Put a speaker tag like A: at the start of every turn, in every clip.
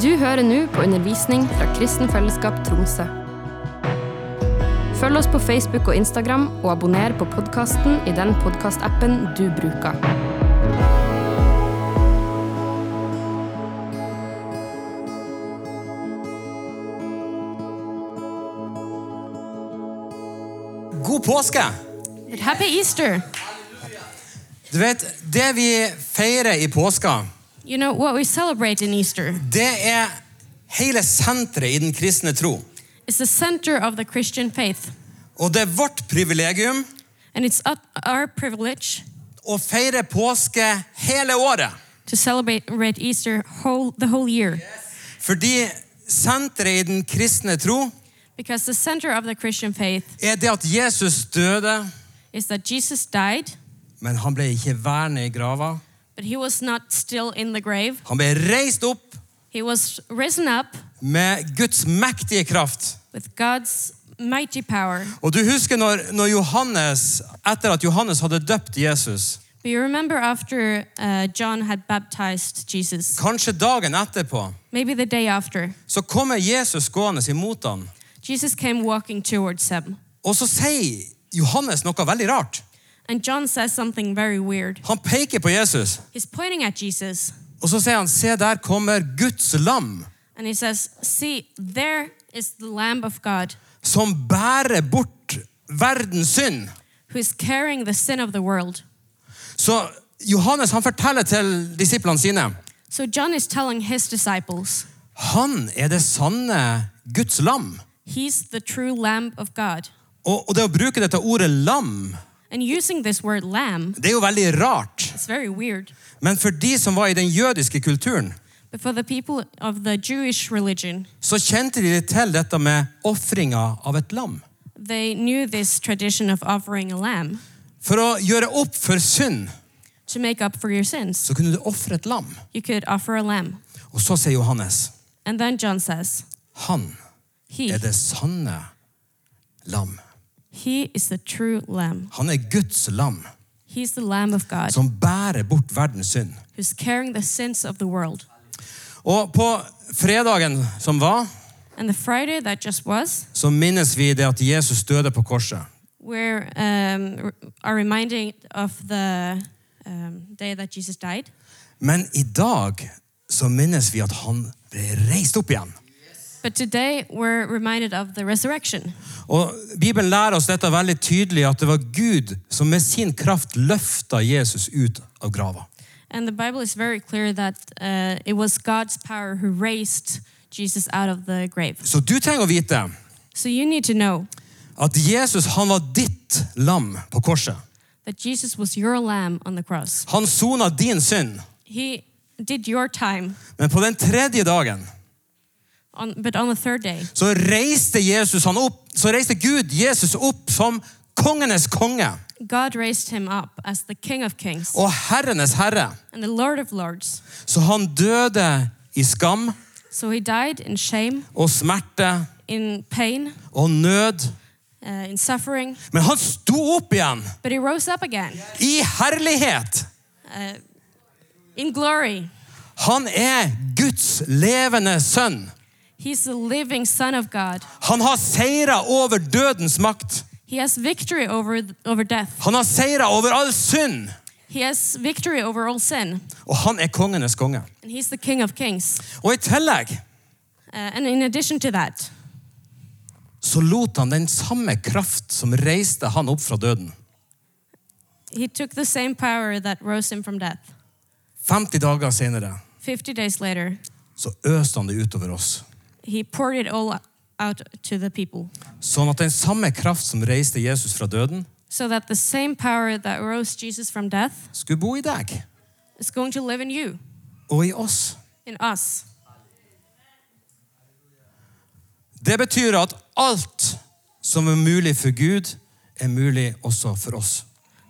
A: Du hører nå på undervisning fra Kristen Fellesskap Tromsø. Følg oss på Facebook og Instagram, og abonner på podkasten i den podkastappen du bruker.
B: God påske!
C: Happy Easter.
B: Du vet, Det vi feirer i påska,
C: You know what we celebrate in Easter
B: det er hele senteret i den kristne tro.
C: is the center of the Christian faith,
B: Og det er vårt privilegium
C: and it's up our privilege
B: å feire påske hele året.
C: to celebrate Easter whole the whole year
B: Fordi senteret i den kristne tro
C: because the center of the Christian faith
B: er det at Jesus døde,
C: is that Jesus died,
B: men han ble ikke værende i grava.
C: but he was not still in the grave.
B: Han ble reist opp
C: He was risen up
B: med Guds mektige kraft.
C: with God's mighty power.
B: Og du husker når, når Johannes, etter at Johannes hadde døpt Jesus,
C: But you remember after uh, John had baptized Jesus,
B: kanskje dagen etterpå
C: maybe the day after,
B: Så kommer Jesus gående imot ham,
C: Jesus came walking towards him,
B: og så sier Johannes noe veldig rart.
C: and John says something very weird.
B: Han peker på Jesus,
C: He's pointing at Jesus
B: og så sier han, se der kommer Guds lam,
C: and he says, See, there is the Lamb of God
B: som bærer bort verdens synd.
C: who is carrying the sin of the world.
B: Så Johannes han forteller til disiplene sine,
C: So John is telling his disciples,
B: han er det sanne Guds lam.
C: He's the true Lamb of God.
B: Og, og det å bruke dette ordet lam,
C: And using this word lamb,
B: det er jo veldig rart.
C: it's very weird.
B: Men for de som var i den jødiske kulturen,
C: But for the people of the Jewish religion,
B: så kjente de til dette med offringa av et lam.
C: they knew this tradition of offering a lamb
B: For å gjøre opp for synd,
C: to make up for your sins.
B: så kunne du ofre et lam.
C: You could offer a lamb.
B: Og så sier Johannes,
C: And then John says,
B: han
C: He,
B: er det sanne lam.
C: he is the true lamb.
B: Han er Guds lam
C: He's the Lamb of God
B: som bærer bort verdens synd.
C: who's carrying the sins of the world.
B: Og på fredagen som var,
C: And the Friday that just was,
B: så minnes vi det at Jesus døde på korset.
C: we're um, r- are reminding of the um, day that Jesus died.
B: Men i dag så minnes vi at han ble reist opp igjen.
C: But today we're reminded of the resurrection.
B: Og Bibelen lærer oss dette veldig tydelig, at det var Gud som med sin kraft løfta Jesus ut av grava.
C: And the Bible is very clear that uh, it was God's power who raised Jesus out of the grave.
B: Så du trenger å vite
C: So you need to know
B: at Jesus han var ditt lam på korset.
C: that Jesus was your lamb on the cross.
B: Han sona din synd.
C: He did your time,
B: Men på den tredje dagen
C: on, but on the third day,
B: så reiste, Jesus han opp, så reiste Gud Jesus opp som kongenes konge
C: God raised him up as the King of Kings
B: og herrenes herre.
C: and the Lord of Lords.
B: Så han døde i skam
C: So he died in shame,
B: og smerte
C: in pain,
B: og nød.
C: uh, in suffering,
B: Men han sto opp igjen
C: but he rose up again
B: i herlighet.
C: in glory.
B: Han er Guds levende sønn.
C: He's the living Son of God.
B: Han har seira over dødens makt.
C: He has victory over, over death.
B: Han har seira over all synd.
C: He has victory over all sin.
B: Og han er kongenes konge.
C: And he's the King of Kings.
B: Og i tillegg
C: Uh, and in addition to that,
B: så lot han den samme kraft som reiste han opp fra døden.
C: he took the same power that rose him from death.
B: 50 dager senere
C: 50 days later,
B: så øste han det utover oss.
C: he poured it all out to the people.
B: Sånn at den samme kraft som reiste Jesus fra døden,
C: So that the same power that rose Jesus from death
B: skulle bo i deg
C: is going to live in you,
B: og i oss.
C: in us.
B: Det betyr at alt som er mulig for Gud, er mulig også for oss.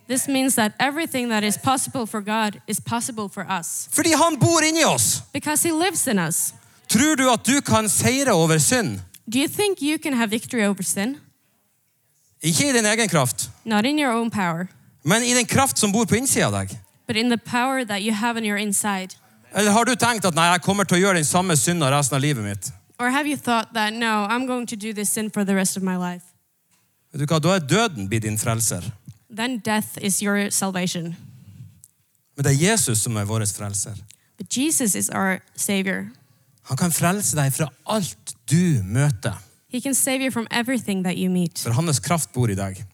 C: This means that everything that is possible for God is possible for us
B: Fordi han bor inni oss.
C: because He lives in us.
B: Tror du at du kan seire over synd?
C: Do you think you can have victory over sin?
B: Ikke i din egen kraft,
C: Not in your own power,
B: men i den kraft som bor på innsida av deg.
C: but in the power that you have in your inside.
B: Eller har du tenkt at nei, jeg kommer til å gjøre den samme synda resten av livet mitt?
C: Or have you thought that, no, I'm going to do this sin for the rest of my life?
B: Vet du hva, Da er døden blitt din frelser.
C: Then death is your salvation.
B: Men det er Jesus som er vår frelser.
C: But Jesus is our Savior.
B: Han kan frelse deg fra alt du møter.
C: He can save you from everything that you meet
B: For hans kraft bor i deg.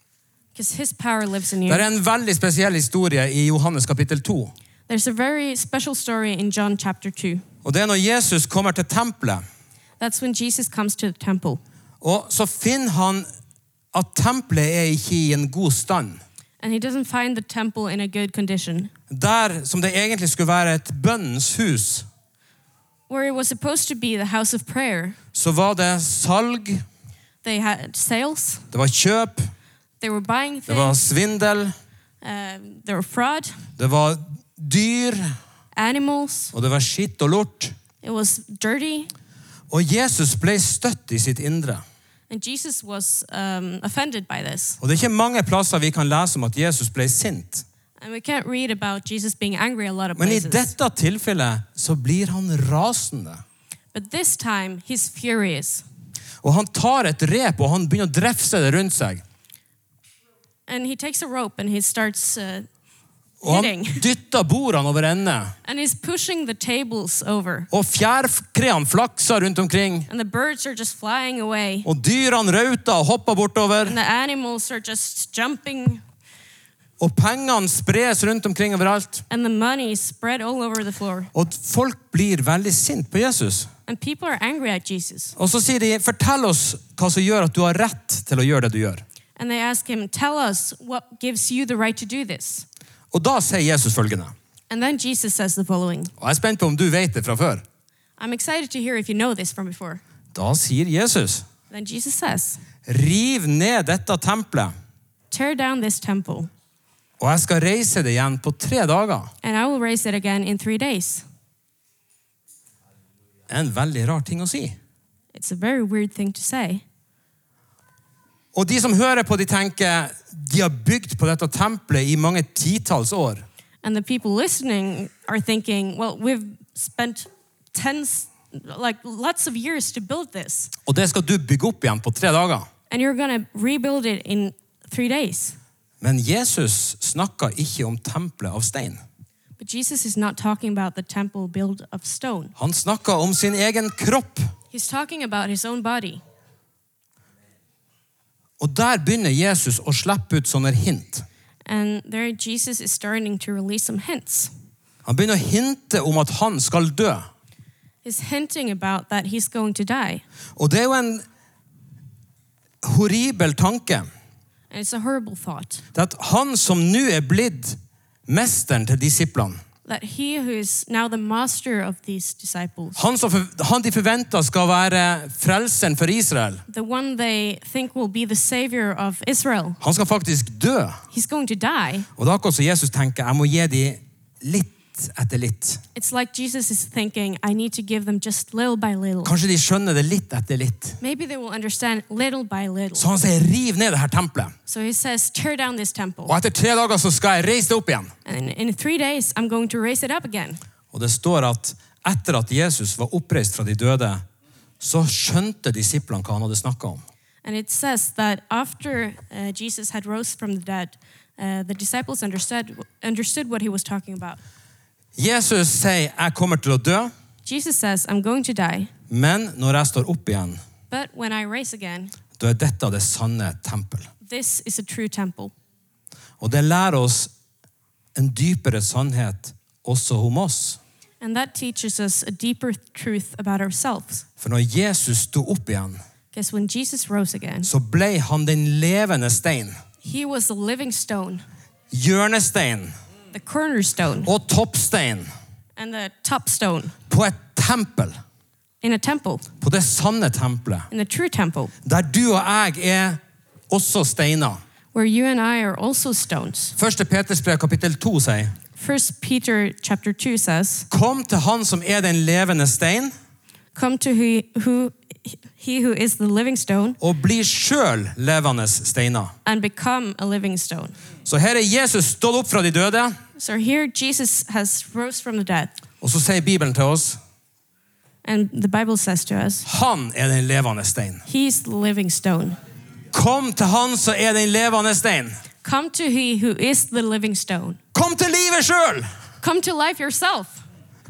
C: because His power lives in
B: Det er
C: you.
B: en veldig spesiell historie i Johannes kapittel 2.
C: There's a very special story in John chapter 2.
B: Og det er når Jesus kommer til tempelet,
C: That's when Jesus comes to the temple
B: og så finner han at tempelet er ikke i en god stand.
C: and he doesn't find the temple in a good condition.
B: Der som det egentlig skulle være et bønnens hus,
C: Where it was supposed to be the house of prayer,
B: så var det salg,
C: they had sales,
B: det var kjøp,
C: they were buying
B: det var
C: things,
B: svindel,
C: uh, there were fraud,
B: det var dyr,
C: animals,
B: og det var skitt og lort.
C: it was dirty,
B: Og Jesus ble støtt i sitt indre.
C: and Jesus was um, offended by this.
B: Og det er ikke mange plasser vi kan lese om at Jesus ble sint.
C: And we can't read about Jesus being angry a lot of
B: Men i
C: places.
B: dette tilfellet så blir han rasende.
C: But this time, he's furious.
B: Og han tar et rep og han begynner å drefse det rundt seg.
C: And he takes a rope and he starts, uh,
B: Og han
C: Hitting.
B: dytter bordene over ende.
C: and he's pushing the tables over.
B: Og fjærkreene flakser rundt omkring.
C: And the birds are just flying away.
B: Og dyrene rauter og hopper bortover.
C: And the animals are just jumping.
B: Og pengene spres rundt omkring overalt.
C: And the money is spread all over the floor.
B: Og folk blir veldig sint på Jesus.
C: And people are angry at Jesus.
B: Og så sier de, fortell oss hva som gjør at du har rett til å gjøre det du gjør.
C: And they ask him, Tell us what gives you the right to do this.
B: Og da sier Jesus følgende,
C: And then Jesus says the following
B: og jeg er spent på om du vet det fra før.
C: I'm excited to hear if you know this from before.
B: Da sier Jesus,
C: Then Jesus says,
B: riv ned dette tempelet,
C: Tear down this temple,
B: og jeg skal reise det igjen på tre dager.
C: and I will raise it again in three days.
B: Det er en veldig rar ting å si.
C: It's a very weird thing to say.
B: Og de som hører på, de tenker, de har bygd på dette tempelet i mange titalls år.
C: And the people listening are thinking, well, we've spent tens, like lots of years to build this,
B: Og det skal du bygge opp igjen på tre dager.
C: and you're going to rebuild it in three days.
B: Men Jesus snakker ikke om tempelet av stein.
C: But Jesus is not talking about the temple built of stone,
B: Han snakker om sin egen kropp.
C: he's talking about his own body.
B: Og der begynner Jesus å slippe ut sånne hint.
C: And there, Jesus is starting to release some hints.
B: Han begynner å hinte om at han skal dø.
C: He's hinting about that he's going to die.
B: Og det er jo en horribel tanke.
C: And it's a horrible thought
B: Det er at han som nå er blitt mesteren til disiplene,
C: that he who is now the master of these disciples,
B: han som for- han de forventer skal være frelseren for Israel,
C: the one they think will be the savior of Israel,
B: han skal faktisk dø.
C: he's going to die.
B: Og det er akkurat som Jesus tenker, jeg må gi de litt etter litt.
C: It's like Jesus is thinking, I need to give them just little by little.
B: Kanskje de skjønner det litt etter litt.
C: Maybe they will understand little by little.
B: Så han sier, riv ned det her tempelet.
C: So he says, Tear down this
B: Og
C: temple.
B: etter tre dager så skal jeg reise det opp igjen.
C: And in three days, I'm going to raise it up again.
B: Og det står at etter at Jesus var oppreist fra de døde, så skjønte disiplene hva han hadde snakka om.
C: And it says that after uh, Jesus had rose from the dead, uh, the disciples understood, understood what he was talking about.
B: Jesus sier, 'Jeg kommer til å dø,
C: Jesus says, I'm going to die,
B: men når jeg står opp igjen,
C: but when I raise again,
B: da er dette det sanne tempel'.
C: this is a true temple.
B: Og det lærer oss en dypere sannhet også om oss.
C: And that teaches us a deeper truth about ourselves.
B: For når Jesus sto opp igjen,
C: Because when Jesus rose again,
B: så ble han den levende stein,
C: he was the living stone,
B: hjørnestein
C: the cornerstone,
B: og toppstein
C: and the top stone
B: på et tempel,
C: in a temple,
B: på det sanne tempelet,
C: in a true temple,
B: der du og jeg er også steiner.
C: where you and I are also stones.
B: Første Peters brev kapittel 2 sier
C: First Peter chapter 2 says,
B: Kom til han som er den levende stein,
C: Come to he who, he who is the living stone
B: og bli sjøl levende steiner.
C: and become a living stone.
B: Så her er Jesus stått opp fra de døde,
C: So here Jesus has rose from the dead
B: Og så sier Bibelen til oss
C: And the Bible says to us,
B: han er den levende stein.
C: He's the living stone.
B: Kom til han som er den levende stein.
C: Come to He who is the living stone.
B: Kom til livet sjøl!
C: Come to life yourself.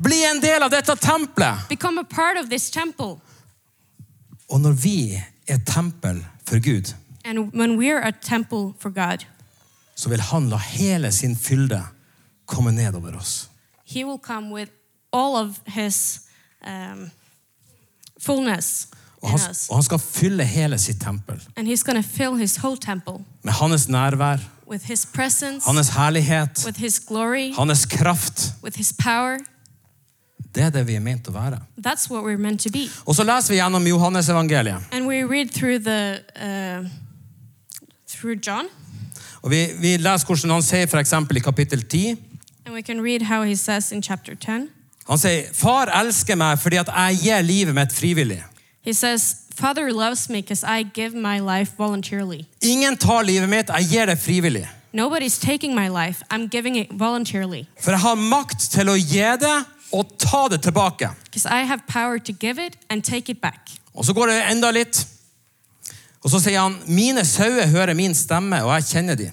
B: Bli en del av dette tempelet.
C: Become a part of this temple.
B: Og når vi er tempel for Gud,
C: And when we're a temple for God,
B: så vil han la hele sin fylde komme nedover oss.
C: He will come with all of His um, fullness
B: Og
C: in
B: han,
C: us.
B: og han skal fylle hele sitt tempel
C: And He's going to fill His whole temple
B: med hans nærvær,
C: with His presence,
B: hans herlighet,
C: with His glory,
B: hans kraft.
C: with His power.
B: Det er det vi er ment å være.
C: That's what we're meant to be.
B: Og så leser vi gjennom Johannes evangeliet.
C: And we read through the uh, through John,
B: Og vi, vi leser hvordan han sier for eksempel i kapittel 10.
C: and we can read how he says in chapter 10.
B: Han sier, far elsker meg fordi at jeg gir livet mitt frivillig.
C: He says, "Father loves me because I give my life voluntarily.
B: Ingen tar livet mitt, jeg gir det frivillig.
C: Nobody's taking my life. I'm giving it voluntarily
B: For jeg har makt til å gi det og ta det tilbake.
C: because I have power to give it and take it back."
B: Og så går det enda litt. Og så sier han, mine sauer hører min stemme, og jeg kjenner de.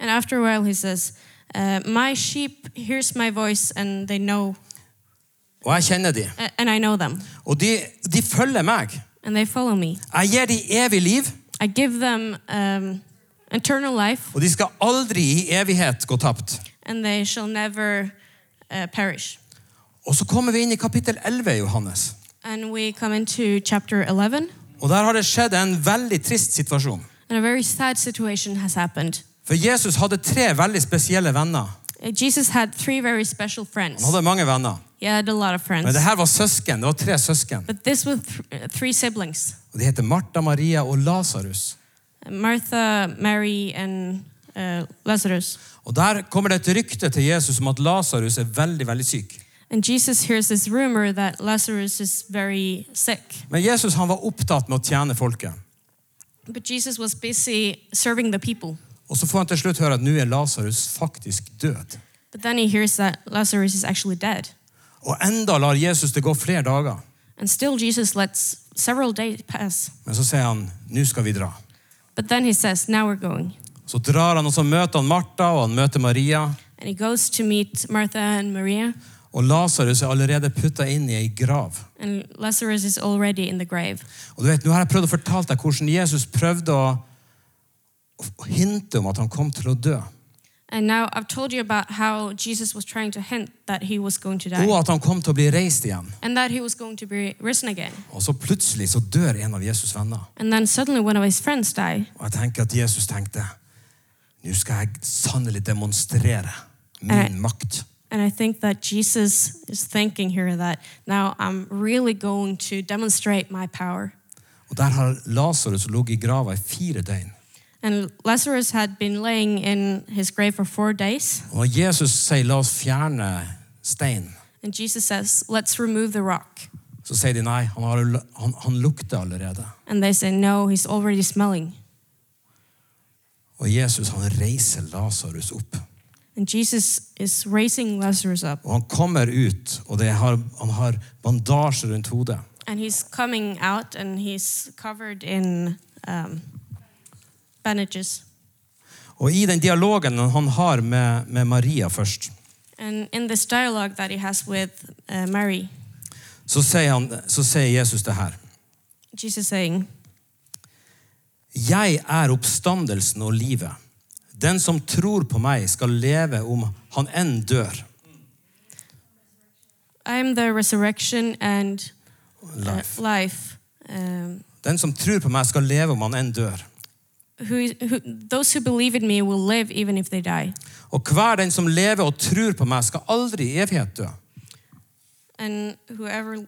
C: And after a while, he says, uh, "My sheep hears my voice, and they know,
B: Og jeg kjenner de.
C: a- and I know them,
B: Og de, de følger meg.
C: and they follow me.
B: Jeg gir de evig liv,
C: I give them um, eternal life."
B: og de skal aldri i evighet gå tapt.
C: and they shall never uh, perish.
B: Og så kommer vi inn i kapittel 11 i Johannes.
C: And we come into chapter 11,
B: Og der har det skjedd en veldig trist situasjon.
C: and a very sad situation has happened.
B: For Jesus hadde tre veldig spesielle venner.
C: Uh, Jesus had three very special
B: Han
C: friends.
B: hadde mange venner.
C: He had a lot
B: Men
C: of friends,
B: det her var søsken. Det var tre søsken.
C: but this was th- uh, three siblings
B: Og De heter Martha, Maria og Lasarus.
C: Martha, Mary, and uh, Lazarus.
B: Og der kommer det et rykte til Jesus om at Lasarus er veldig, veldig syk.
C: And Jesus hears this rumor that Lazarus is very sick.
B: Men Jesus han var opptatt med å tjene folket.
C: But Jesus was busy serving the people.
B: Og så får han til slutt høre at nå er Lasarus faktisk død.
C: But then he hears that Lazarus is actually dead.
B: Og enda lar Jesus det gå flere dager.
C: And still, Jesus lets several days pass.
B: Men så sier han nå skal vi dra.
C: But then he says, Now we're going.
B: Så drar han, og så møter han Martha, og han møter Maria.
C: And he goes to meet Martha and Maria,
B: Og Lasarus er allerede putta inn i ei grav.
C: and Lazarus is already in the grave.
B: Og du vet, Nå har jeg prøvd å fortelle deg hvordan Jesus prøvde å å hinte om at han kom til å dø,
C: And now I've told you about how Jesus was trying to hint that he was going to
B: og
C: die
B: at han kom til å bli reist igjen.
C: and that he was going to be risen again.
B: Og så plutselig så dør en av Jesus' venner.
C: And then suddenly one of his friends died.
B: Og jeg tenker at Jesus tenkte nå skal jeg sannelig demonstrere min makt.
C: And I think that Jesus is thinking here that now I'm really going to demonstrate my power.
B: Og Der har Lasarus ligget i grava i fire døgn.
C: And Lazarus had been laying in his grave for four days.
B: Og når Jesus sier 'la oss fjerne steinen',
C: And Jesus says, Let's remove the rock.
B: så sier de nei, han, har, han, han lukter allerede.
C: And they say, No, he's already smelling.
B: Og Jesus han reiser Lasarus opp.
C: And Jesus is raising Lazarus up,
B: Og han kommer ut, og det har, han har bandasje rundt hodet.
C: and he's coming out, and he's covered in um, bandages.
B: Og i den dialogen han har med, med Maria først,
C: And in this dialogue that he has with uh, Mary,
B: så sier, han, så sier Jesus det her.
C: Jesus saying,
B: Jeg er oppstandelsen og livet. Den som tror på meg skal leve om han enn dør.
C: I am the resurrection and uh,
B: Life.
C: life. Um,
B: Den som tror på meg skal leve om han enn dør.
C: who, who, those who believe in me will live even if they die.
B: Og hver den som lever og tror på meg skal aldri i evighet dø.
C: And whoever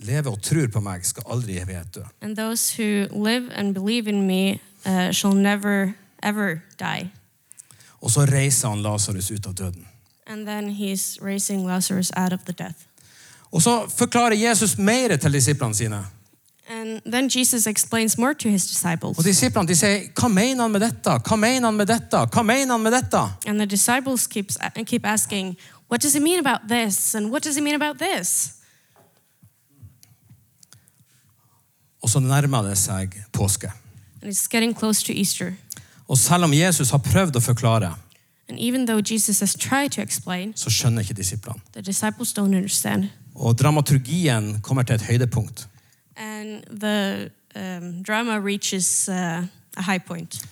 B: Leve og tror på meg skal aldri i evighet dø.
C: and those who live and believe in me uh, shall never ever die.
B: Og så reiser han Lasarus ut av døden.
C: And then he's raising Lazarus out of the death.
B: Og så forklarer Jesus mer til disiplene sine.
C: And then Jesus explains more to his disciples.
B: Og Disiplene de sier, 'Hva mener han med dette? Hva mener han med dette? Hva mener han med dette?'
C: And the disciples keeps, uh, keep asking, What does he mean about this? And what does he mean about this?
B: Og så nærmer det seg påske.
C: And it's getting close to Easter.
B: Og selv om Jesus har prøvd å forklare,
C: And even though Jesus has tried to explain,
B: så skjønner ikke disiplene.
C: the disciples don't understand.
B: Og dramaturgien kommer til et høydepunkt.
C: And the um, drama reaches uh, a high point.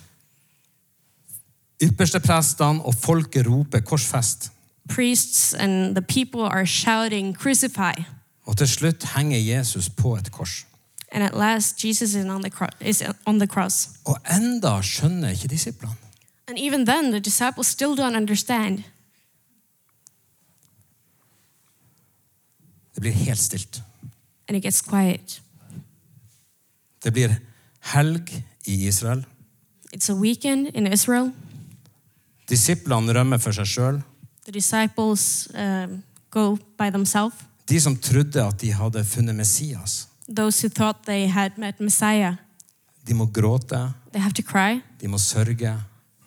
B: Yppersteprestene og folket roper korsfest.
C: Priests and the people are shouting, Crucify!
B: Og til slutt henger Jesus på et kors.
C: And at last, Jesus is on the, cro- is on the cross.
B: Og enda skjønner ikke disiplene.
C: And even then, the disciples still don't understand.
B: Det blir helt stilt.
C: And it gets quiet.
B: Det blir helg i Israel.
C: It's a weekend in Israel.
B: Disiplene rømmer for seg sjøl.
C: The disciples um, go by themselves.
B: De som trodde at de hadde funnet Messias,
C: Those who thought they had met Messiah,
B: de må gråte,
C: they have to cry,
B: de må sørge.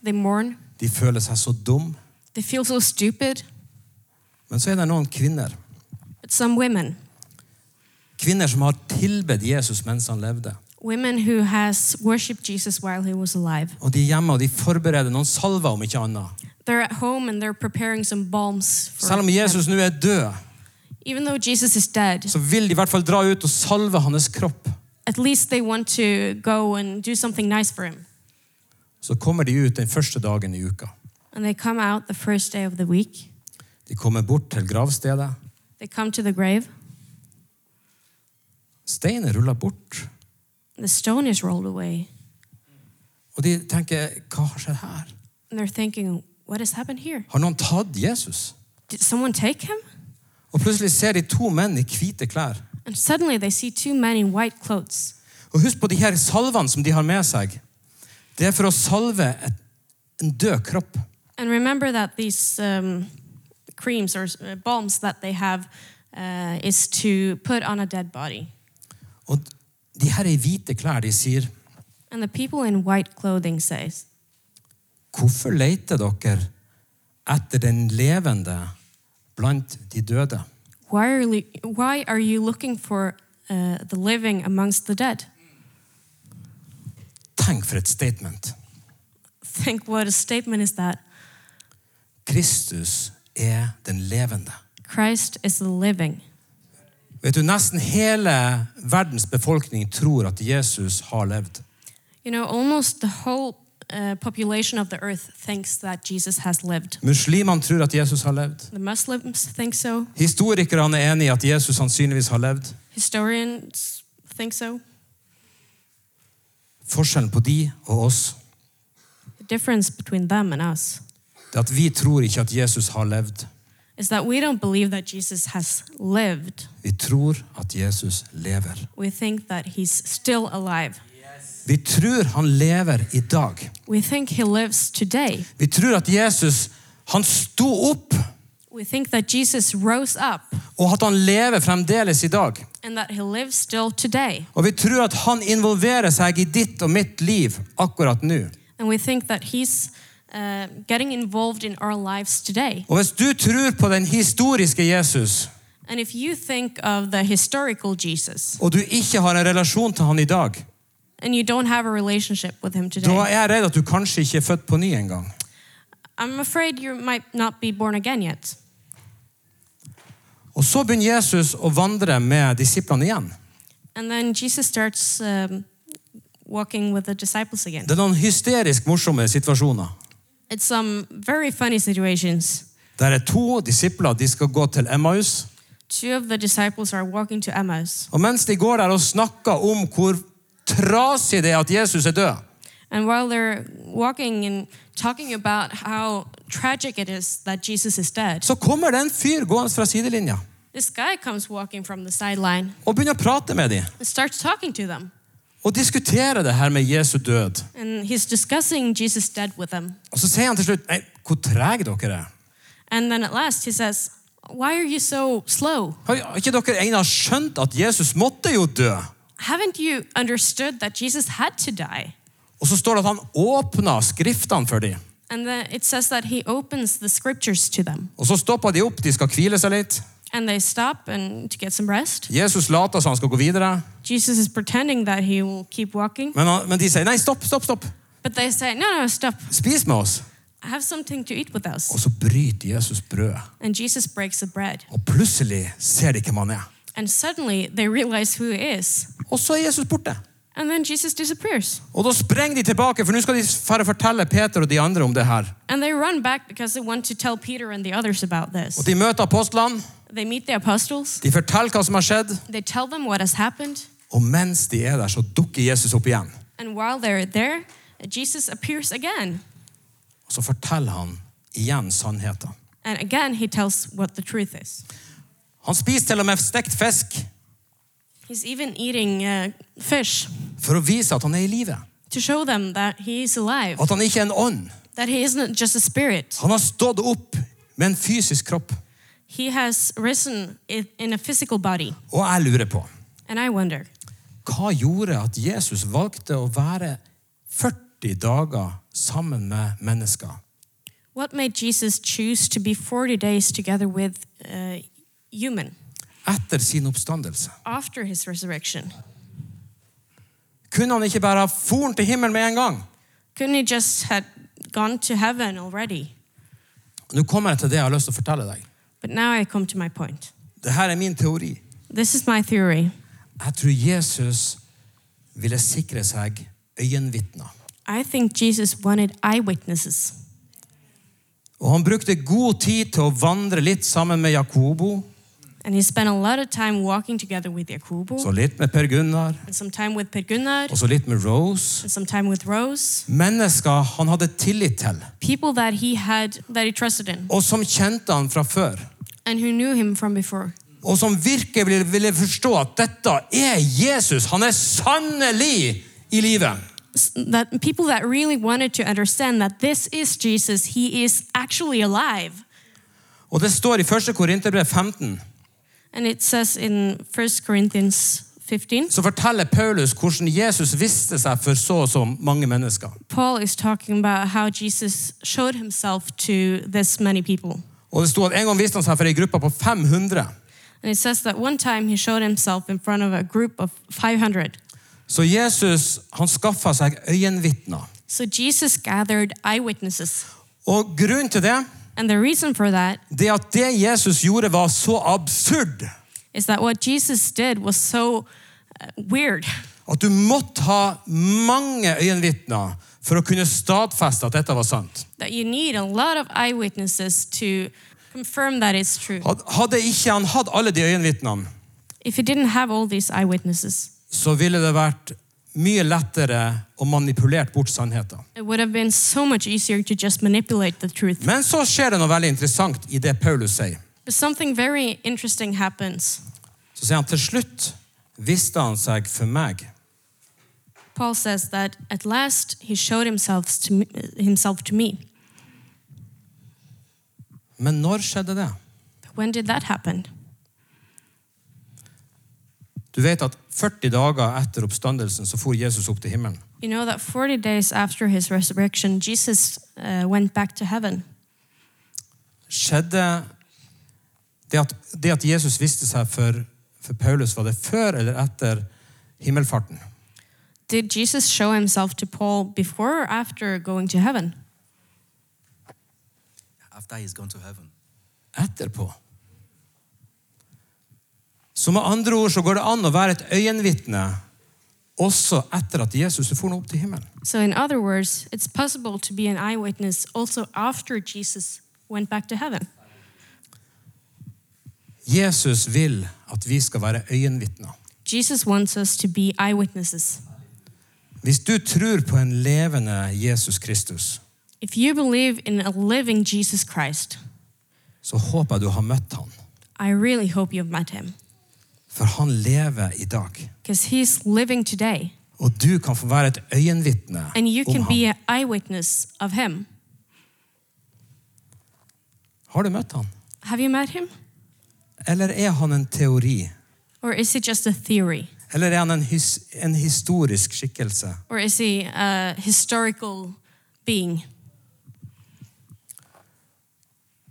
C: they mourn,
B: De føler seg så dum.
C: they feel so stupid.
B: Men så er det noen kvinner.
C: But some women,
B: Kvinner som har tilbedt Jesus mens han levde.
C: women who has worshipped Jesus while he was alive,
B: Og de er hjemme og de forbereder noen salver, om ikke annet.
C: they're at home and they're preparing some balms for
B: Selv om Jesus nå er død,
C: Even though Jesus is dead,
B: så vil de i hvert fall dra ut og salve hans kropp.
C: at least they want to go and do something nice for him.
B: Så kommer de ut den første dagen i uka.
C: And they come out the first day of the week.
B: De kommer bort til gravstedet.
C: They come to the grave.
B: Steinen ruller bort.
C: The stone is rolled away.
B: Og de tenker, hva har skjedd her?
C: And they're thinking, what has happened here?
B: Har noen tatt Jesus?
C: Did someone take him?
B: Og plutselig ser de to menn i hvite klær.
C: And suddenly they see two men in white clothes.
B: Og husk på de her salvene som de har med seg. Det er for å salve et, en død kropp.
C: And remember that these um, creams or uh, balms that they have uh, is to put on a dead body.
B: Og de her i hvite klær, de sier,
C: And the people in white clothing says,
B: hvorfor leter dere etter den levende blant de døde?
C: why are, you, why are you looking for uh, the living amongst the dead?
B: Tenk for et statement.
C: Think what a statement is that.
B: Kristus er den levende.
C: Christ is the living.
B: Vet du, Nesten hele verdens befolkning tror at Jesus har levd.
C: You know, almost the whole uh, population of the earth thinks that Jesus has lived.
B: Muslimene tror at Jesus har levd.
C: The Muslims think so.
B: Historikerne er enig i at Jesus sannsynligvis har levd.
C: Historians think so.
B: Forskjellen på de og oss
C: The difference between them and us
B: det er at vi tror ikke at Jesus har levd.
C: is that we don't believe that Jesus has lived.
B: Vi tror at Jesus lever.
C: We think that he's still alive.
B: Vi tror han lever i dag.
C: We think he lives today.
B: Vi tror at Jesus han sto opp,
C: We think that Jesus rose up
B: og at han lever fremdeles i dag.
C: and that he lives still today.
B: Og vi tror at han involverer seg i ditt og mitt liv akkurat nå.
C: And we think that he's uh, getting involved in our lives today.
B: Og hvis du tror på den historiske Jesus,
C: And if you think of the historical Jesus
B: og du ikke har en relasjon til han i dag,
C: and you don't have a relationship with him today,
B: da er jeg redd at du kanskje ikke er født på ny engang.
C: I'm afraid you might not be born again yet.
B: Og så begynner Jesus å vandre med disiplene igjen.
C: And then Jesus starts um, walking with the disciples again.
B: Det er noen hysterisk morsomme situasjoner.
C: It's some very funny situations.
B: Der er to disipler, de skal gå til Emmaus.
C: Two of the disciples are walking to Emmaus.
B: Og mens de går der og snakker om hvor trasig det er at Jesus er død,
C: And while they're walking and talking about how tragic it is that Jesus is dead,
B: så kommer det en fyr gående fra sidelinja
C: this guy comes walking from the sideline
B: og begynner å prate med dem.
C: and starts talking to them.
B: Og diskutere det her med Jesu død.
C: And he's discussing Jesus' dead with them.
B: Og så sier han til slutt Nei, hvor trege dere er.
C: And then at last he says, Why are you so slow?
B: Har ikke dere egentlig skjønt at Jesus måtte jo dø?
C: Haven't you understood that Jesus had to die?
B: Og så står det at han åpna skriftene for dem.
C: And then it says that he opens the scriptures to them.
B: Og så stopper de opp, de skal hvile seg litt.
C: And they stop and to get some rest.
B: Jesus later som han skal gå videre,
C: Jesus is pretending that he will keep walking,
B: men, han, men de sier nei, stopp, stopp, stopp.
C: but they say, "No, no, stop.
B: Spis med oss.
C: Have something to eat with us."
B: Og så bryter Jesus brødet.
C: And Jesus breaks the bread.
B: Og plutselig ser de hvem han er.
C: And suddenly they realize who he is.
B: Og så er Jesus borte.
C: And then Jesus disappears.
B: Og da sprenger de tilbake, for nå skal de færre fortelle Peter og de andre om det her.
C: And they run back because they want to tell Peter and the others about
B: Og
C: this.
B: de møter apostlene,
C: They meet the apostles.
B: de forteller hva som har skjedd,
C: They tell them what has happened.
B: og mens de er der, så dukker Jesus opp igjen.
C: And while they're there, Jesus appears again.
B: Og så forteller han igjen sannheten.
C: And again, he tells what the truth is.
B: Han spiser til og med stekt fisk
C: He's even eating uh, fish
B: for å vise at han er i live.
C: to show them that he is alive,
B: At han ikke er en ånd.
C: that he isn't just a spirit.
B: Han har stått opp med en fysisk kropp.
C: He has risen i- in a physical body.
B: Og jeg lurer på,
C: And I wonder,
B: hva gjorde at Jesus valgte å være 40 dager sammen med mennesker?
C: what made Jesus choose to be 40 days together with uh, human
B: Etter sin oppstandelse.
C: after his resurrection?
B: Kunne han ikke bare ha foren til himmelen med en gang?
C: Couldn't he just had gone to heaven already?
B: Nå kommer jeg til det jeg har lyst til å fortelle deg.
C: But now I come to my point.
B: Dette er min teori.
C: This is my theory.
B: Jeg tror Jesus ville sikre seg øyenvitner.
C: I think Jesus wanted eyewitnesses.
B: Og han brukte god tid til å vandre litt sammen med Jakobo,
C: And he spent a lot of time walking together with Jakubu,
B: så litt med Per Gunnar,
C: and some time with Per Gunnar,
B: og så litt med Rose.
C: and some time with Rose.
B: Mennesker han hadde tillit til,
C: People that he had, that he trusted in,
B: og som kjente han fra før.
C: and who knew him from before.
B: Og som virkelig ville- ville forstå at dette er Jesus. Han er sannelig i livet.
C: S- That people that really wanted to understand that this is Jesus, he is actually alive.
B: Og det står i 1. Korinterbrev 15,
C: And it says in 1 Corinthians 15,
B: så forteller Paulus hvordan Jesus viste seg for så og så mange mennesker.
C: Paul is talking about how Jesus showed himself to this many people.
B: Og det sto at en gang viste han seg for ei gruppe på 500.
C: And it says that one time he showed himself in front of a group of 500.
B: Så Jesus han skaffa seg øyenvitner.
C: So Jesus gathered eyewitnesses.
B: Og grunnen til det,
C: And the reason for that
B: det er at det Jesus gjorde, var så absurd
C: is that what Jesus did was so uh, weird
B: at du måtte ha mange øyenvitner for å kunne stadfeste at dette var sant.
C: that you need a lot of eyewitnesses to confirm that it's true.
B: Had- Hadde ikke han hatt alle de øyenvitnene,
C: If you didn't have all these eyewitnesses,
B: så ville det vært mye lettere å manipulere bort sannheten.
C: it would have been so much easier to just manipulate the truth.
B: Men så skjer det noe veldig interessant i det Paulus sier.
C: But something very interesting happens.
B: Så sier han til slutt viste han seg for meg.
C: Paul says that at last he showed himself to me, himself to me.
B: Men når skjedde det?
C: But when did that happen?
B: Du vet at 40 dager etter oppstandelsen så for Jesus opp til himmelen.
C: You know that 40 days after his resurrection, Jesus uh, went back to heaven.
B: Skjedde det at, det at Jesus viste seg for, for Paulus, var det før eller etter himmelfarten?
C: Did Jesus show himself to Paul before or after going to heaven?
D: after he's gone to heaven.
B: Etterpå. Så med andre ord så går det an å være et øyenvitne også etter at Jesus er for opp til himmelen.
C: So, in other words, it's possible to be an eyewitness also after Jesus went back to heaven.
B: Jesus vil at vi skal være øyenvitner.
C: Jesus wants us to be eyewitnesses.
B: Hvis du tror på en levende Jesus Kristus,
C: If you believe in a living Jesus Christ,
B: så håper jeg du har møtt han.
C: I really hope you've met him
B: For han lever i dag.
C: because he's living today
B: Og du kan få være et øyenvitne
C: and you
B: om
C: can
B: ham.
C: be an eyewitness of him.
B: Har du møtt han?
C: Have you met him?
B: Eller er han en teori?
C: Or is it just a theory?
B: Eller er han en, his, en historisk skikkelse?
C: Or is he a historical being?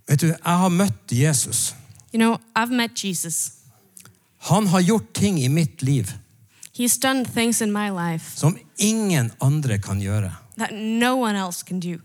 B: Vet du, Jeg har møtt Jesus.
C: You know, I've met Jesus.
B: Han har gjort ting i mitt liv
C: He's done things in my life
B: som ingen andre kan gjøre.
C: that no one else can do.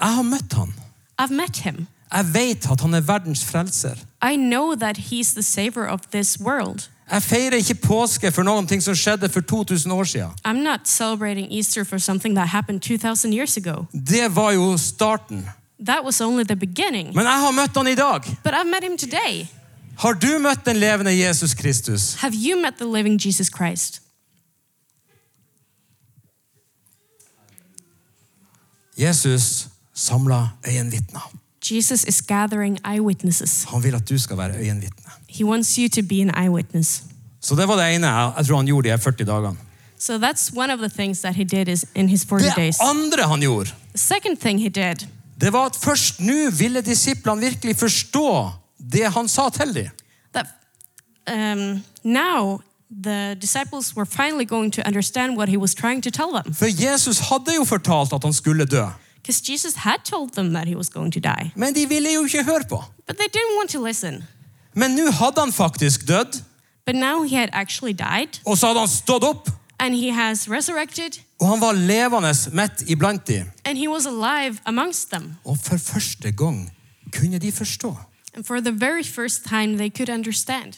B: Jeg har møtt han.
C: I've met him.
B: Jeg vet at han er verdens frelser.
C: I know that he's the savior of this world.
B: Jeg feirer ikke påske for noen ting som skjedde for 2000 år siden.
C: I'm not celebrating Easter for something that happened 2,000 years ago.
B: Det var jo starten.
C: That was only the beginning.
B: Men jeg har møtt han i dag.
C: But I've met him today.
B: Har du møtt den levende Jesus Kristus?
C: Have you met the living Jesus Christ?
B: Jesus samla øyenvitner.
C: Jesus is gathering eyewitnesses.
B: Han vil at du skal være øyenvitne.
C: He wants you to be an eyewitness.
B: Så det var det ene jeg, jeg tror han gjorde de her 40 dagene.
C: So that's one of the things that he did is in his 40
B: Det
C: days.
B: andre han gjorde,
C: The second thing he did
B: det var at først nå ville disiplene virkelig forstå det han sa til dem.
C: that um, now the disciples were finally going to understand what he was trying to tell them
B: For Jesus hadde jo fortalt at han skulle dø.
C: because Jesus had told them that he was going to die,
B: Men de ville jo ikke høre på.
C: but they didn't want to listen.
B: Men nå hadde han faktisk dødd,
C: But now he had actually died
B: og så hadde han stått opp,
C: and he has resurrected
B: og han var levende midt iblant dem.
C: and he was alive amongst them.
B: Og for første gang kunne de forstå.
C: And for the very first time, they could understand.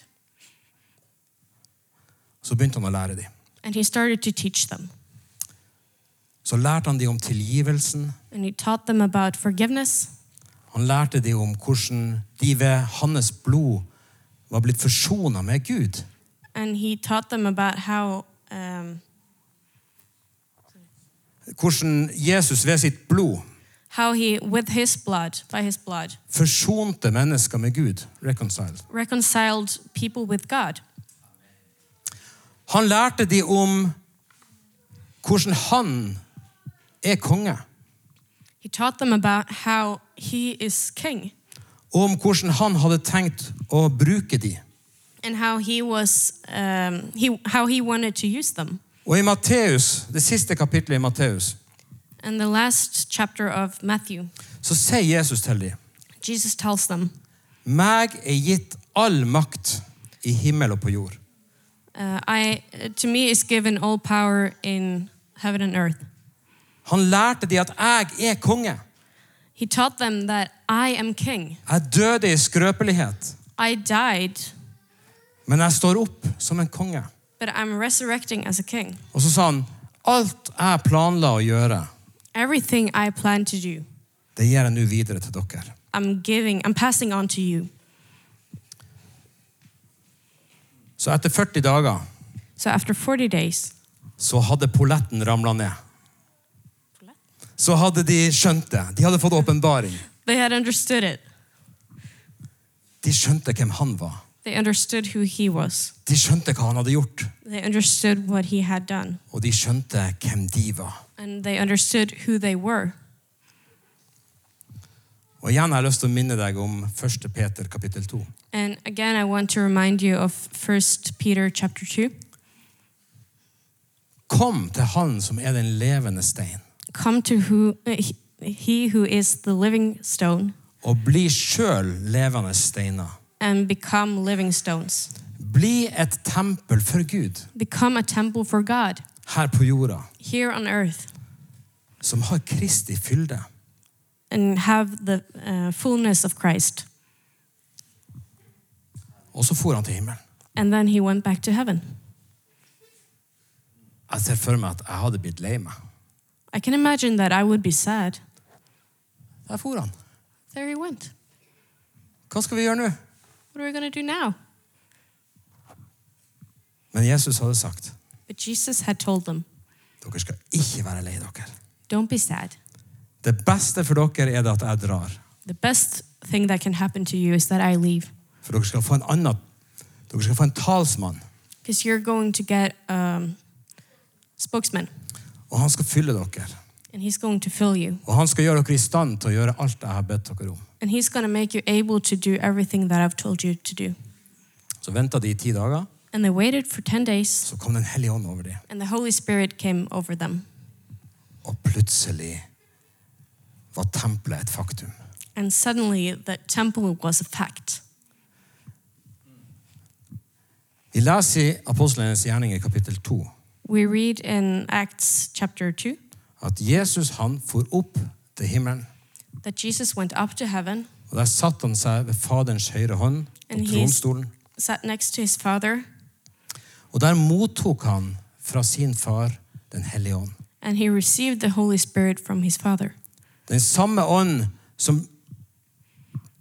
B: Så begynte han å lære dem.
C: And he started to teach them.
B: Så lærte han dem om tilgivelsen.
C: And he taught them about forgiveness.
B: Han lærte dem om hvordan de ved hans blod var blitt forsona med Gud.
C: And he taught them about how um,
B: Hvordan Jesus ved sitt blod
C: how he, with his blood, by his blood,
B: forsonte mennesker med Gud. Reconciled.
C: reconciled people with God.
B: Han lærte dem om hvordan han er konge,
C: He taught them about how he is king
B: og om hvordan han hadde tenkt å bruke dem.
C: and how he was um, he how he wanted to use them.
B: Og i Matteus, det siste kapittelet i Matteus
C: And the last chapter of Matthew,
B: så sier Jesus til dem
C: Jesus tells them,
B: Meg er gitt all makt i himmel og på jord.
C: uh, "I to me is given all power in heaven and earth."
B: Han lærte dem at jeg er konge.
C: He taught them that I am king.
B: Jeg døde i skrøpelighet,
C: I died,
B: men jeg står opp som en konge.
C: but I'm resurrecting as a king.
B: Og så sa han, alt jeg planla å gjøre,
C: Everything I plan to do,
B: det gir jeg nå videre til dere.
C: I'm giving, I'm passing on to you.
B: Så etter 40 dager
C: So after 40 days,
B: så hadde polletten ramla ned. Så hadde de skjønt det. De hadde fått åpenbaring.
C: they had understood it.
B: De skjønte hvem han var.
C: They understood who he was.
B: De skjønte hva han hadde gjort,
C: They understood what he had done.
B: og de skjønte hvem de var.
C: And they understood who they were.
B: Og igjen har jeg lyst til å minne deg om 1. Peter kapittel 2.
C: And again, I want to remind you of 1 Peter chapter 2.
B: Kom til Han som er den levende stein,
C: Come to who uh, he- he who is the living stone
B: og bli sjøl levende steiner.
C: and become living stones.
B: Bli et tempel for Gud
C: Become a temple for God
B: her på jorda,
C: here on earth
B: som har Kristi fylde.
C: and have the uh, fullness of Christ.
B: Og så for han til himmelen.
C: And then he went back to heaven.
B: Jeg ser for meg at jeg hadde blitt lei meg.
C: I can imagine that I would be sad.
B: Der for han.
C: There he went.
B: Hva skal vi gjøre nå?
C: What are we going to do now?
B: Men Jesus hadde sagt
C: But Jesus had told them,
B: dere skal ikke være lei dere.
C: Don't be sad.
B: Det beste for dere er det at jeg drar.
C: The best thing that can happen to you is that I leave
B: For dere skal få en annen Dere skal få en talsmann,
C: because you're going to get um, spokesman
B: og han skal fylle dere.
C: and he's going to fill you
B: Og han skal gjøre dere i stand til å gjøre alt jeg har bedt dere om.
C: and he's going to make you able to do everything that I've told you to do.
B: Så venta de i ti dager,
C: And they waited for 10 days,
B: Så kom Den hellige ånd over dem,
C: and the Holy Spirit came over them.
B: og plutselig var tempelet et faktum.
C: And suddenly, the temple was a fact.
B: Vi leser i Apostlenes gjerninger kapittel 2
C: We read in Acts chapter 2
B: at Jesus han for opp til himmelen,
C: that Jesus went up to heaven
B: og der satt han seg ved Faderens høyre hånd på
C: And he is-
B: tronstolen.
C: sat next to his father
B: Og der mottok han fra sin far Den hellige ånd.
C: and he received the Holy Spirit from his father.
B: Den samme ånd som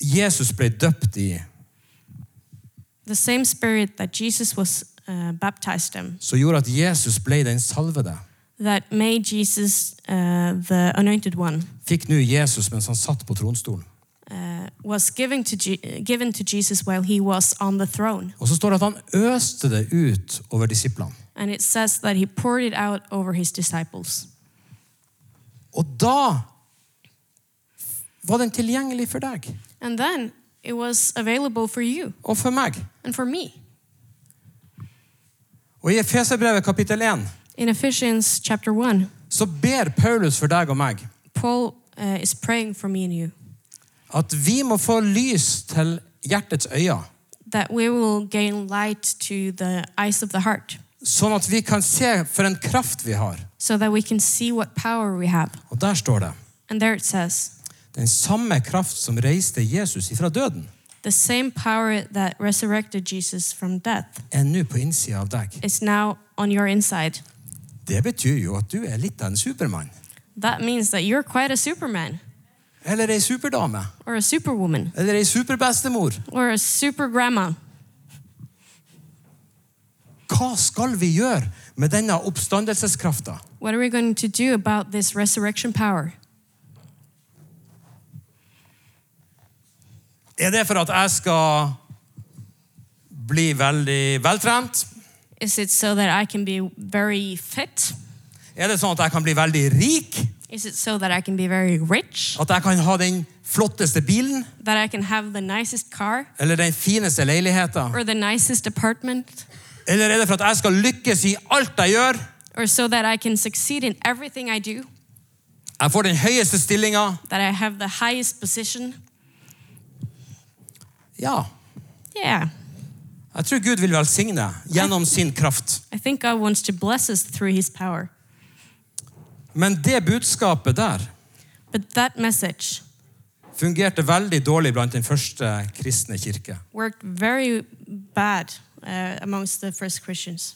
B: Jesus ble døpt i,
C: The same spirit that Jesus was uh, baptized in,
B: som gjorde at Jesus ble den salvede,
C: that made Jesus uh, the anointed one,
B: fikk nå Jesus mens han satt på tronstolen.
C: uh, was given to, Je- given to Jesus while he was on the throne.
B: Og så står det at han øste det ut over disiplene.
C: And it says that he poured it out over his disciples.
B: Og da var den tilgjengelig for deg
C: And then it was available for you
B: og for meg.
C: and for me.
B: Og i Efeserbrevet kapittel 1
C: In Ephesians chapter 1,
B: så ber Paulus for deg og meg
C: Paul uh, is praying for me and you
B: at vi må få lys til hjertets øyne,
C: that we will gain light to the eyes of the heart
B: sånn at vi kan se for en kraft vi har.
C: so that we can see what power we have.
B: Og der står det
C: And there it says,
B: den samme kraft som reiste Jesus ifra døden,
C: the same power that resurrected Jesus from death
B: er nå på innsida av deg.
C: is now on your inside.
B: Det betyr jo at du er litt av en supermann.
C: That means that you're quite a superman
B: Eller ei superdame.
C: or a superwoman
B: Eller ei superbestemor.
C: or a super grandma.
B: Hva skal vi gjøre med denne oppstandelseskrafta?
C: What are we going to do about this resurrection power?
B: Er det for at jeg skal bli veldig veltrent?
C: Is it so that I can be very fit?
B: Er det sånn at jeg kan bli veldig rik?
C: Is it so that I can be very rich?
B: At jeg kan ha den flotteste bilen?
C: That I can have the nicest car
B: Eller den fineste leiligheta?
C: or the nicest apartment?
B: Eller er det for at jeg skal lykkes i alt jeg gjør?
C: Or so that I can succeed in everything I do?
B: Jeg får den høyeste stillinga?
C: That I have the highest position?
B: Ja.
C: Yeah,
B: Jeg tror Gud vil velsigne gjennom sin kraft.
C: I think God wants to bless us through His power.
B: Men det budskapet der
C: But that message
B: fungerte veldig dårlig blant den første kristne kirke.
C: worked very bad uh, amongst the first Christians.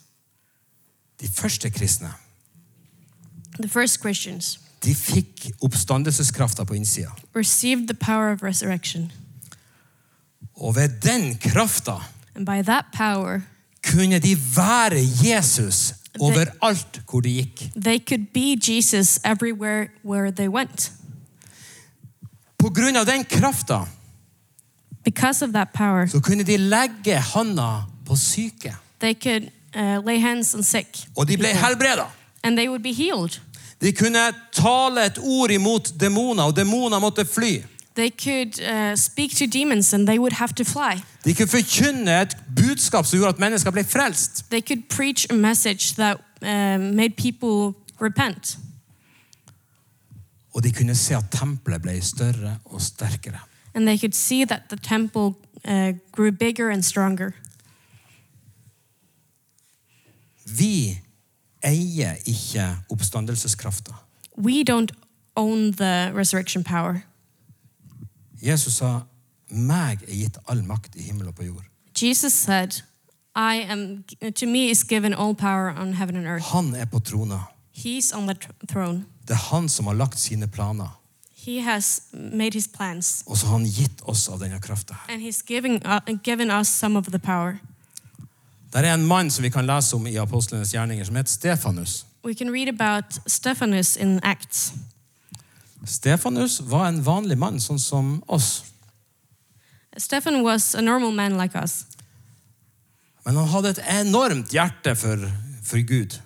B: De første kristne
C: The first Christians
B: de fikk oppstandelseskrafta på innsida.
C: received the power of resurrection,
B: Og ved den krafta
C: and by that power,
B: kunne de være Jesus overalt hvor de gikk.
C: they could be Jesus everywhere where they went.
B: På grunn av den krafta
C: Because of that power,
B: så kunne de legge handa på syke.
C: they could uh, lay hands on sick,
B: Og de ble
C: people,
B: helbreda.
C: and they would be healed.
B: De kunne tale et ord imot demoner, og demoner måtte fly.
C: They could uh, speak to demons, and they would have to fly.
B: De kunne forkynne et budskap som gjorde at mennesker ble frelst.
C: They could preach a message that um, made people repent,
B: Og de kunne se at tempelet ble større og sterkere.
C: and they could see that the temple uh, grew bigger and stronger.
B: Vi eier ikke oppstandelseskrafta.
C: We don't own the resurrection power.
B: Jesus sa, meg er gitt all makt i himmel og på jord.
C: Jesus said, "I am to me is given all power on heaven and earth.
B: Han er på trona.
C: He's on the tr- throne.
B: Det er han som har lagt sine planer.
C: He has made his plans."
B: Og så har han gitt oss av denne krafta.
C: And he's giving, uh, given us some of the power.
B: Der er en mann som vi kan lese om i Apostlenes gjerninger, som heter Stefanus.
C: We can read about Stephanus in Acts.
B: Stefanus var en vanlig mann, sånn som oss.
C: Stephan was a normal man like us.
B: Men han hadde et enormt hjerte for, for Gud.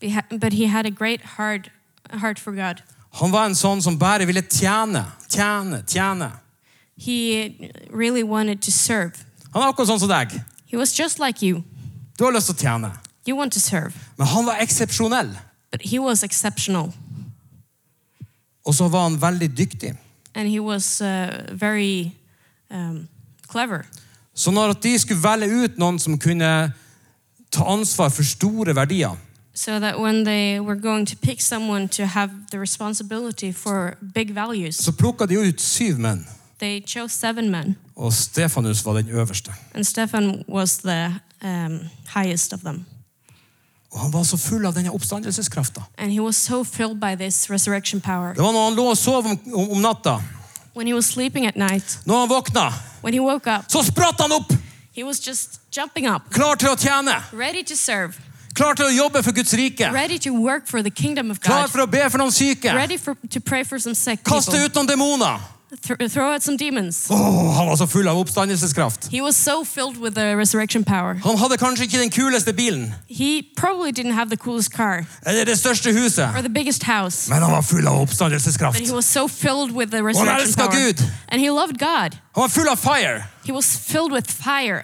C: Beha- But he had a great heart, heart for God.
B: Han var en sånn som bare ville tjene, tjene, tjene.
C: He really wanted to serve.
B: Han er akkurat sånn som deg.
C: He was just like you.
B: Du har lyst til å tjene.
C: You want to serve,
B: Men han var eksepsjonell.
C: but he was exceptional
B: Og så var han veldig dyktig.
C: and he was uh, very um, clever.
B: Så når at de skulle velge ut noen som kunne ta ansvar for store verdier,
C: So that when they were going to pick someone to have the responsibility for big values,
B: så plukka de ut syv menn.
C: they chose seven men,
B: Og Stefanus var den øverste.
C: and Stefan was the um, highest of them.
B: Og han var så full av denne oppstandelseskrafta.
C: And he was so filled by this resurrection power.
B: Det var når han lå og sov om, om, om natta.
C: When he was sleeping at night,
B: Når han våkna,
C: when he woke up,
B: så spratt han opp!
C: he was just jumping up,
B: Klar til å tjene.
C: ready to serve,
B: Klar til å jobbe for Guds rike.
C: ready to work for the kingdom of
B: Klar
C: God,
B: for å be for noen syke.
C: ready for, to pray for some sick
B: Kaste
C: people,
B: ut noen demoner.
C: th- throw out some demons.
B: Åh, han var så full av oppstandelseskraft.
C: He was so filled with the resurrection power.
B: Han hadde kanskje ikke den kuleste bilen
C: He probably didn't have the coolest car
B: eller det største
C: or
B: huset,
C: the biggest house,
B: men han var full av
C: but he
B: oppstandelseskraft.
C: was so filled with the resurrection
B: älskar
C: power.
B: Gud.
C: And he loved God.
B: Han var full av fire.
C: He was filled with fire.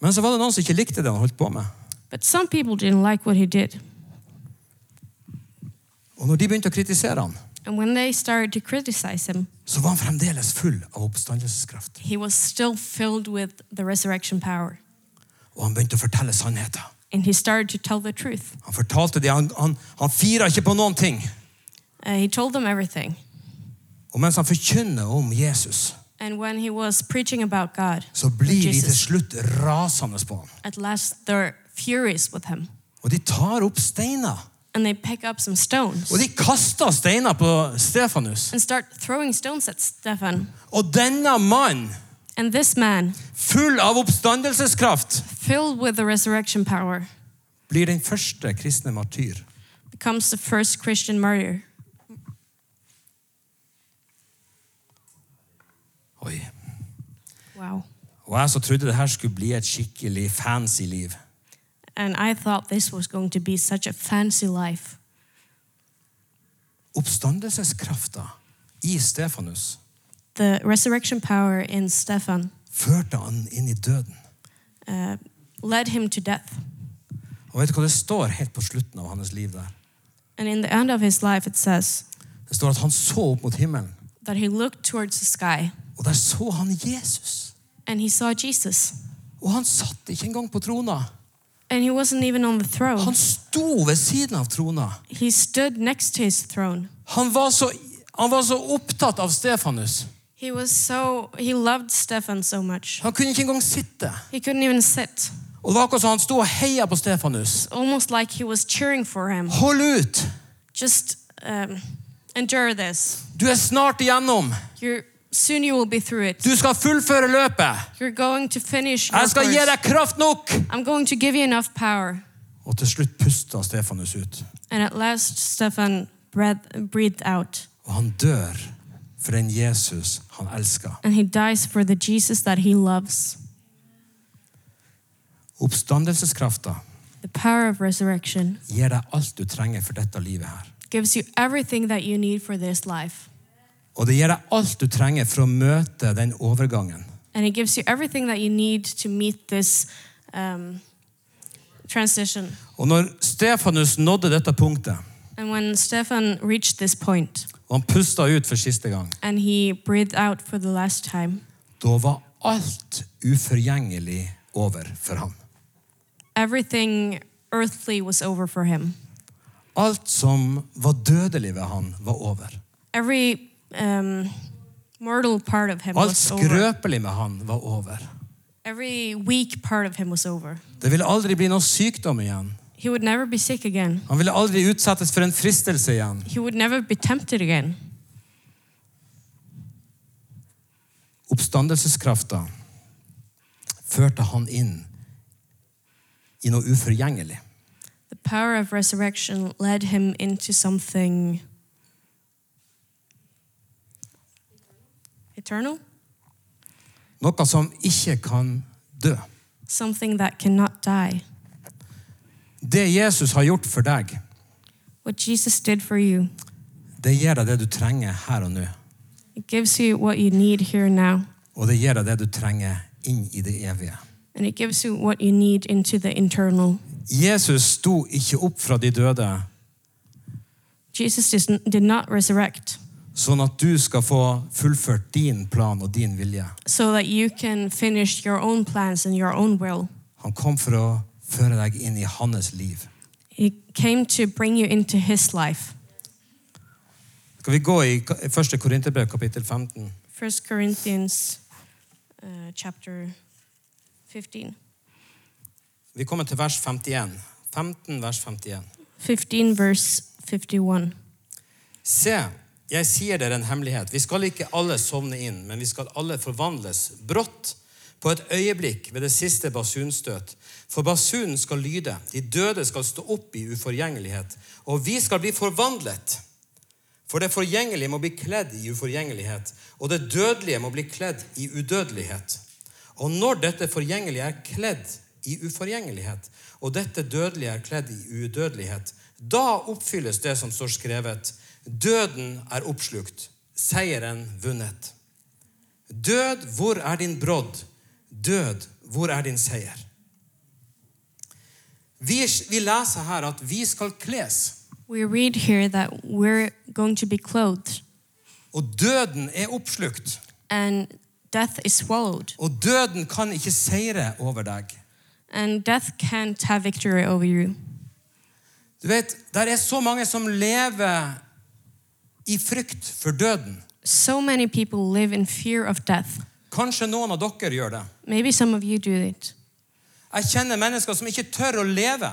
B: Men så var det noen som ikke likte det han holdt på med.
C: But some people didn't like what he did.
B: Og når de begynte å kritisere han,
C: And when they started to criticize him,
B: så var han fremdeles full av oppstandelseskraft.
C: he was still filled with the resurrection power.
B: Og han begynte å fortelle sannheter.
C: And he started to tell the truth.
B: Han fortalte det, han, han, han fira ikke på noen ting.
C: Uh, he told them everything.
B: Og mens han forkynner om Jesus,
C: And when he was preaching about God,
B: så blir de til
C: Jesus,
B: slutt rasende på ham.
C: at last they're furious with him.
B: Og de tar opp steiner.
C: And they pick up some stones
B: Og de kaster steiner på Stefanus.
C: and start throwing stones at Stefan.
B: Og denne mannen,
C: And this man,
B: full av oppstandelseskraft,
C: filled with the resurrection power,
B: blir den første kristne martyr.
C: becomes the first Christian martyr.
B: Oi.
C: Wow.
B: Og jeg så trodde det her skulle bli et skikkelig fancy liv.
C: And I thought this was going to be such a fancy life.
B: Oppstandelseskrafta i Stefanus
C: The resurrection power in Stefan
B: førte han inn i døden.
C: uh, led him to death.
B: Og vet du hva det står helt på slutten av hans liv der?
C: And in the end of his life, it says
B: Det står at han så opp mot himmelen,
C: that he looked towards the sky
B: og der så han Jesus.
C: and he saw Jesus.
B: Og han satt ikke engang på trona.
C: And he wasn't even on the throne,
B: Han sto ved siden av trona.
C: he stood next to his throne.
B: Han var så, han var så opptatt av Stefanus.
C: He was so, he loved Stefan so much.
B: Han kunne ikke engang sitte.
C: He couldn't even sit.
B: Og det var akkurat som han sto og heia på Stefanus.
C: Almost like he was cheering for him.
B: Hold ut!
C: Just um, endure this.
B: Du er snart igjennom.
C: You're, soon you will be through it.
B: Du skal fullføre løpet.
C: You're going to finish. your
B: Jeg skal gi
C: course.
B: deg kraft nok!
C: I'm going to give you enough power.
B: Og til slutt pusta Stefanus ut.
C: And at last, Stefan breath, breathed out.
B: Og han dør for den Jesus han elsker.
C: And he dies for the Jesus that he loves.
B: Oppstandelseskrafta
C: The power of resurrection
B: gir deg alt du trenger for dette livet her.
C: gives you everything that you need for this life.
B: Og det gir deg alt du trenger for å møte den overgangen.
C: And it gives you everything that you need to meet this um, transition.
B: Og når Stefanus nådde dette punktet,
C: And when Stefan reached this point
B: og han pusta ut for siste gang,
C: and he breathed out for the last time,
B: da var alt uforgjengelig over for ham.
C: everything earthly was over for him.
B: Alt som var dødelig ved han, var over.
C: Every um, mortal part of him
B: Alt
C: was over.
B: skrøpelig med han var over.
C: Every weak part of him was over.
B: Det ville aldri bli noen sykdom igjen.
C: He would never be sick again.
B: Han ville aldri utsettes for en fristelse igjen.
C: He would never be tempted again.
B: Oppstandelseskrafta førte han inn i noe uforgjengelig.
C: The power of resurrection led him into something eternal,
B: Noe som ikke kan dø.
C: something that cannot die.
B: Det Jesus har gjort for deg,
C: What Jesus did for you,
B: det gir deg det du trenger her og nå.
C: it gives you what you need here and now.
B: Og det gir deg det du trenger inn i det evige.
C: and it gives you what you need into the internal.
B: Jesus sto ikke opp fra de døde
C: Jesus dis- did not resurrect
B: sånn at du skal få fullført din plan og din vilje.
C: so that you can finish your own plans and your own will.
B: Han kom for å føre deg inn i hans liv.
C: He came to bring you into his life.
B: Skal vi gå i ka- 1. Korinterbrev kapittel 15?
C: 1 Corinthians uh, chapter 15.
B: Vi kommer til vers 51. 15 vers 51.
C: 15 verse 51.
B: Se, jeg sier dere en hemmelighet. Vi skal ikke alle sovne inn, men vi skal alle forvandles brått på et øyeblikk ved det siste basunstøt. For basunen skal lyde, de døde skal stå opp i uforgjengelighet, og vi skal bli forvandlet. For det forgjengelige må bli kledd i uforgjengelighet, og det dødelige må bli kledd i udødelighet. Og når dette forgjengelige er kledd i uforgjengelighet, og dette dødelige er kledd i udødelighet, da oppfylles det som står skrevet. Døden er oppslukt, seieren vunnet. Død, hvor er din brodd? Død, hvor er din seier? Vi, vi leser her at vi skal kles.
C: We read here that we're going to be clothed
B: Og døden er oppslukt.
C: and death is swallowed
B: Og døden kan ikke seire over deg.
C: and death can't have victory over you.
B: Du vet, Der er så mange som lever i frykt for døden.
C: So many people live in fear of death.
B: Kanskje noen av dere gjør det.
C: Maybe some of you do it.
B: Jeg kjenner mennesker som ikke tør å leve,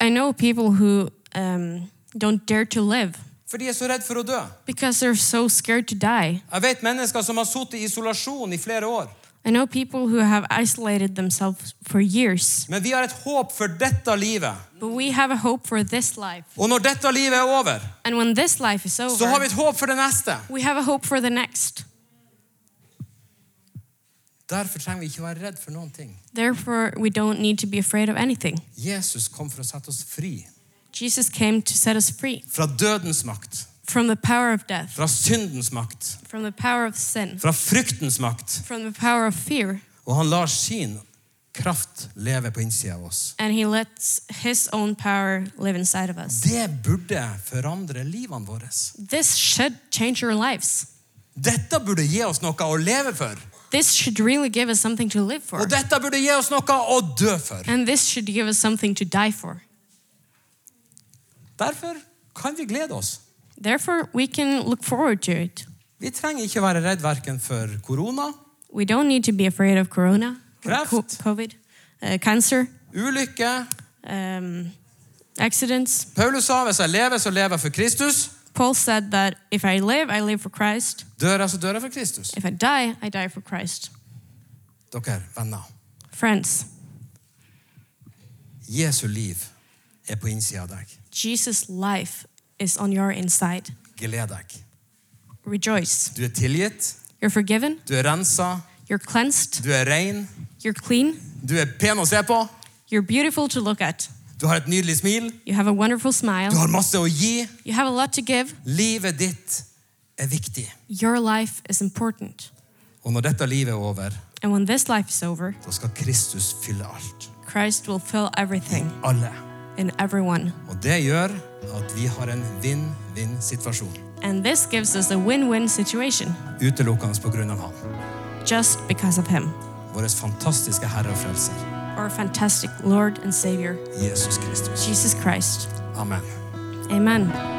C: I know people who um, don't dare to live
B: for de er så redd for å dø.
C: because they're so scared to die.
B: Jeg vet mennesker som har sittet i isolasjon i flere år.
C: I know people who have isolated themselves for years,
B: Men vi har et håp for dette livet.
C: but we have a hope for this life.
B: Og når dette livet er over,
C: And when this life is over,
B: så har vi et håp for det neste.
C: we have a hope for the next.
B: Derfor trenger vi ikke være redd for noen ting.
C: Therefore, we don't need to be afraid of anything.
B: Jesus kom for å sette oss fri
C: Jesus came to set us free
B: fra dødens makt,
C: from the power of death,
B: fra syndens makt,
C: from the power of sin,
B: fra fryktens makt.
C: from the power of fear,
B: Og han lar sin kraft leve på innsida av oss.
C: and he lets his own power live inside of us.
B: Det burde forandre livene våre.
C: This should change your lives.
B: Dette burde gi oss noe å leve for.
C: This should really give us something to live for.
B: Og dette burde gi oss noe å dø for.
C: And this should give us something to die for.
B: Derfor kan vi glede oss.
C: Therefore, we can look forward to it.
B: Vi trenger ikke være redd verken for korona,
C: We don't need to be afraid of corona,
B: Kraft.
C: co- COVID, uh, cancer,
B: ulykke
C: um, accidents.
B: Paulus sa hvis jeg lever, så lever jeg for Kristus.
C: Paul said that if I live, I live for Christ.
B: Dør jeg, så dør jeg for Kristus.
C: If I die, I die for Christ.
B: Dere, venner,
C: Friends,
B: Jesu liv er på innsida av deg.
C: Jesus' life is on your inside.
B: Gled deg.
C: Rejoice.
B: Du er tilgitt,
C: You're forgiven,
B: du er rensa,
C: you're cleansed,
B: du er rein,
C: you're clean,
B: du er pen å se på.
C: you're beautiful to look at.
B: Du har et nydelig smil.
C: You have a wonderful
B: Du
C: smile,
B: har masse å gi.
C: you have a lot to give.
B: Livet ditt er viktig.
C: Your life is important.
B: Og når dette livet er over,
C: And when this life is over,
B: da skal Kristus fylle alt.
C: Christ will fill everything
B: Alle.
C: in everyone.
B: Og det gjør at vi har en vinn-vinn-situasjon.
C: And this gives us a win win situation
B: Utelukkende på grunn av Han.
C: just because of Him,
B: Vår fantastiske Herre og Frelser,
C: our fantastic Lord and Savior,
B: Jesus Kristus.
C: Jesus Christ.
B: Amen.
C: Amen.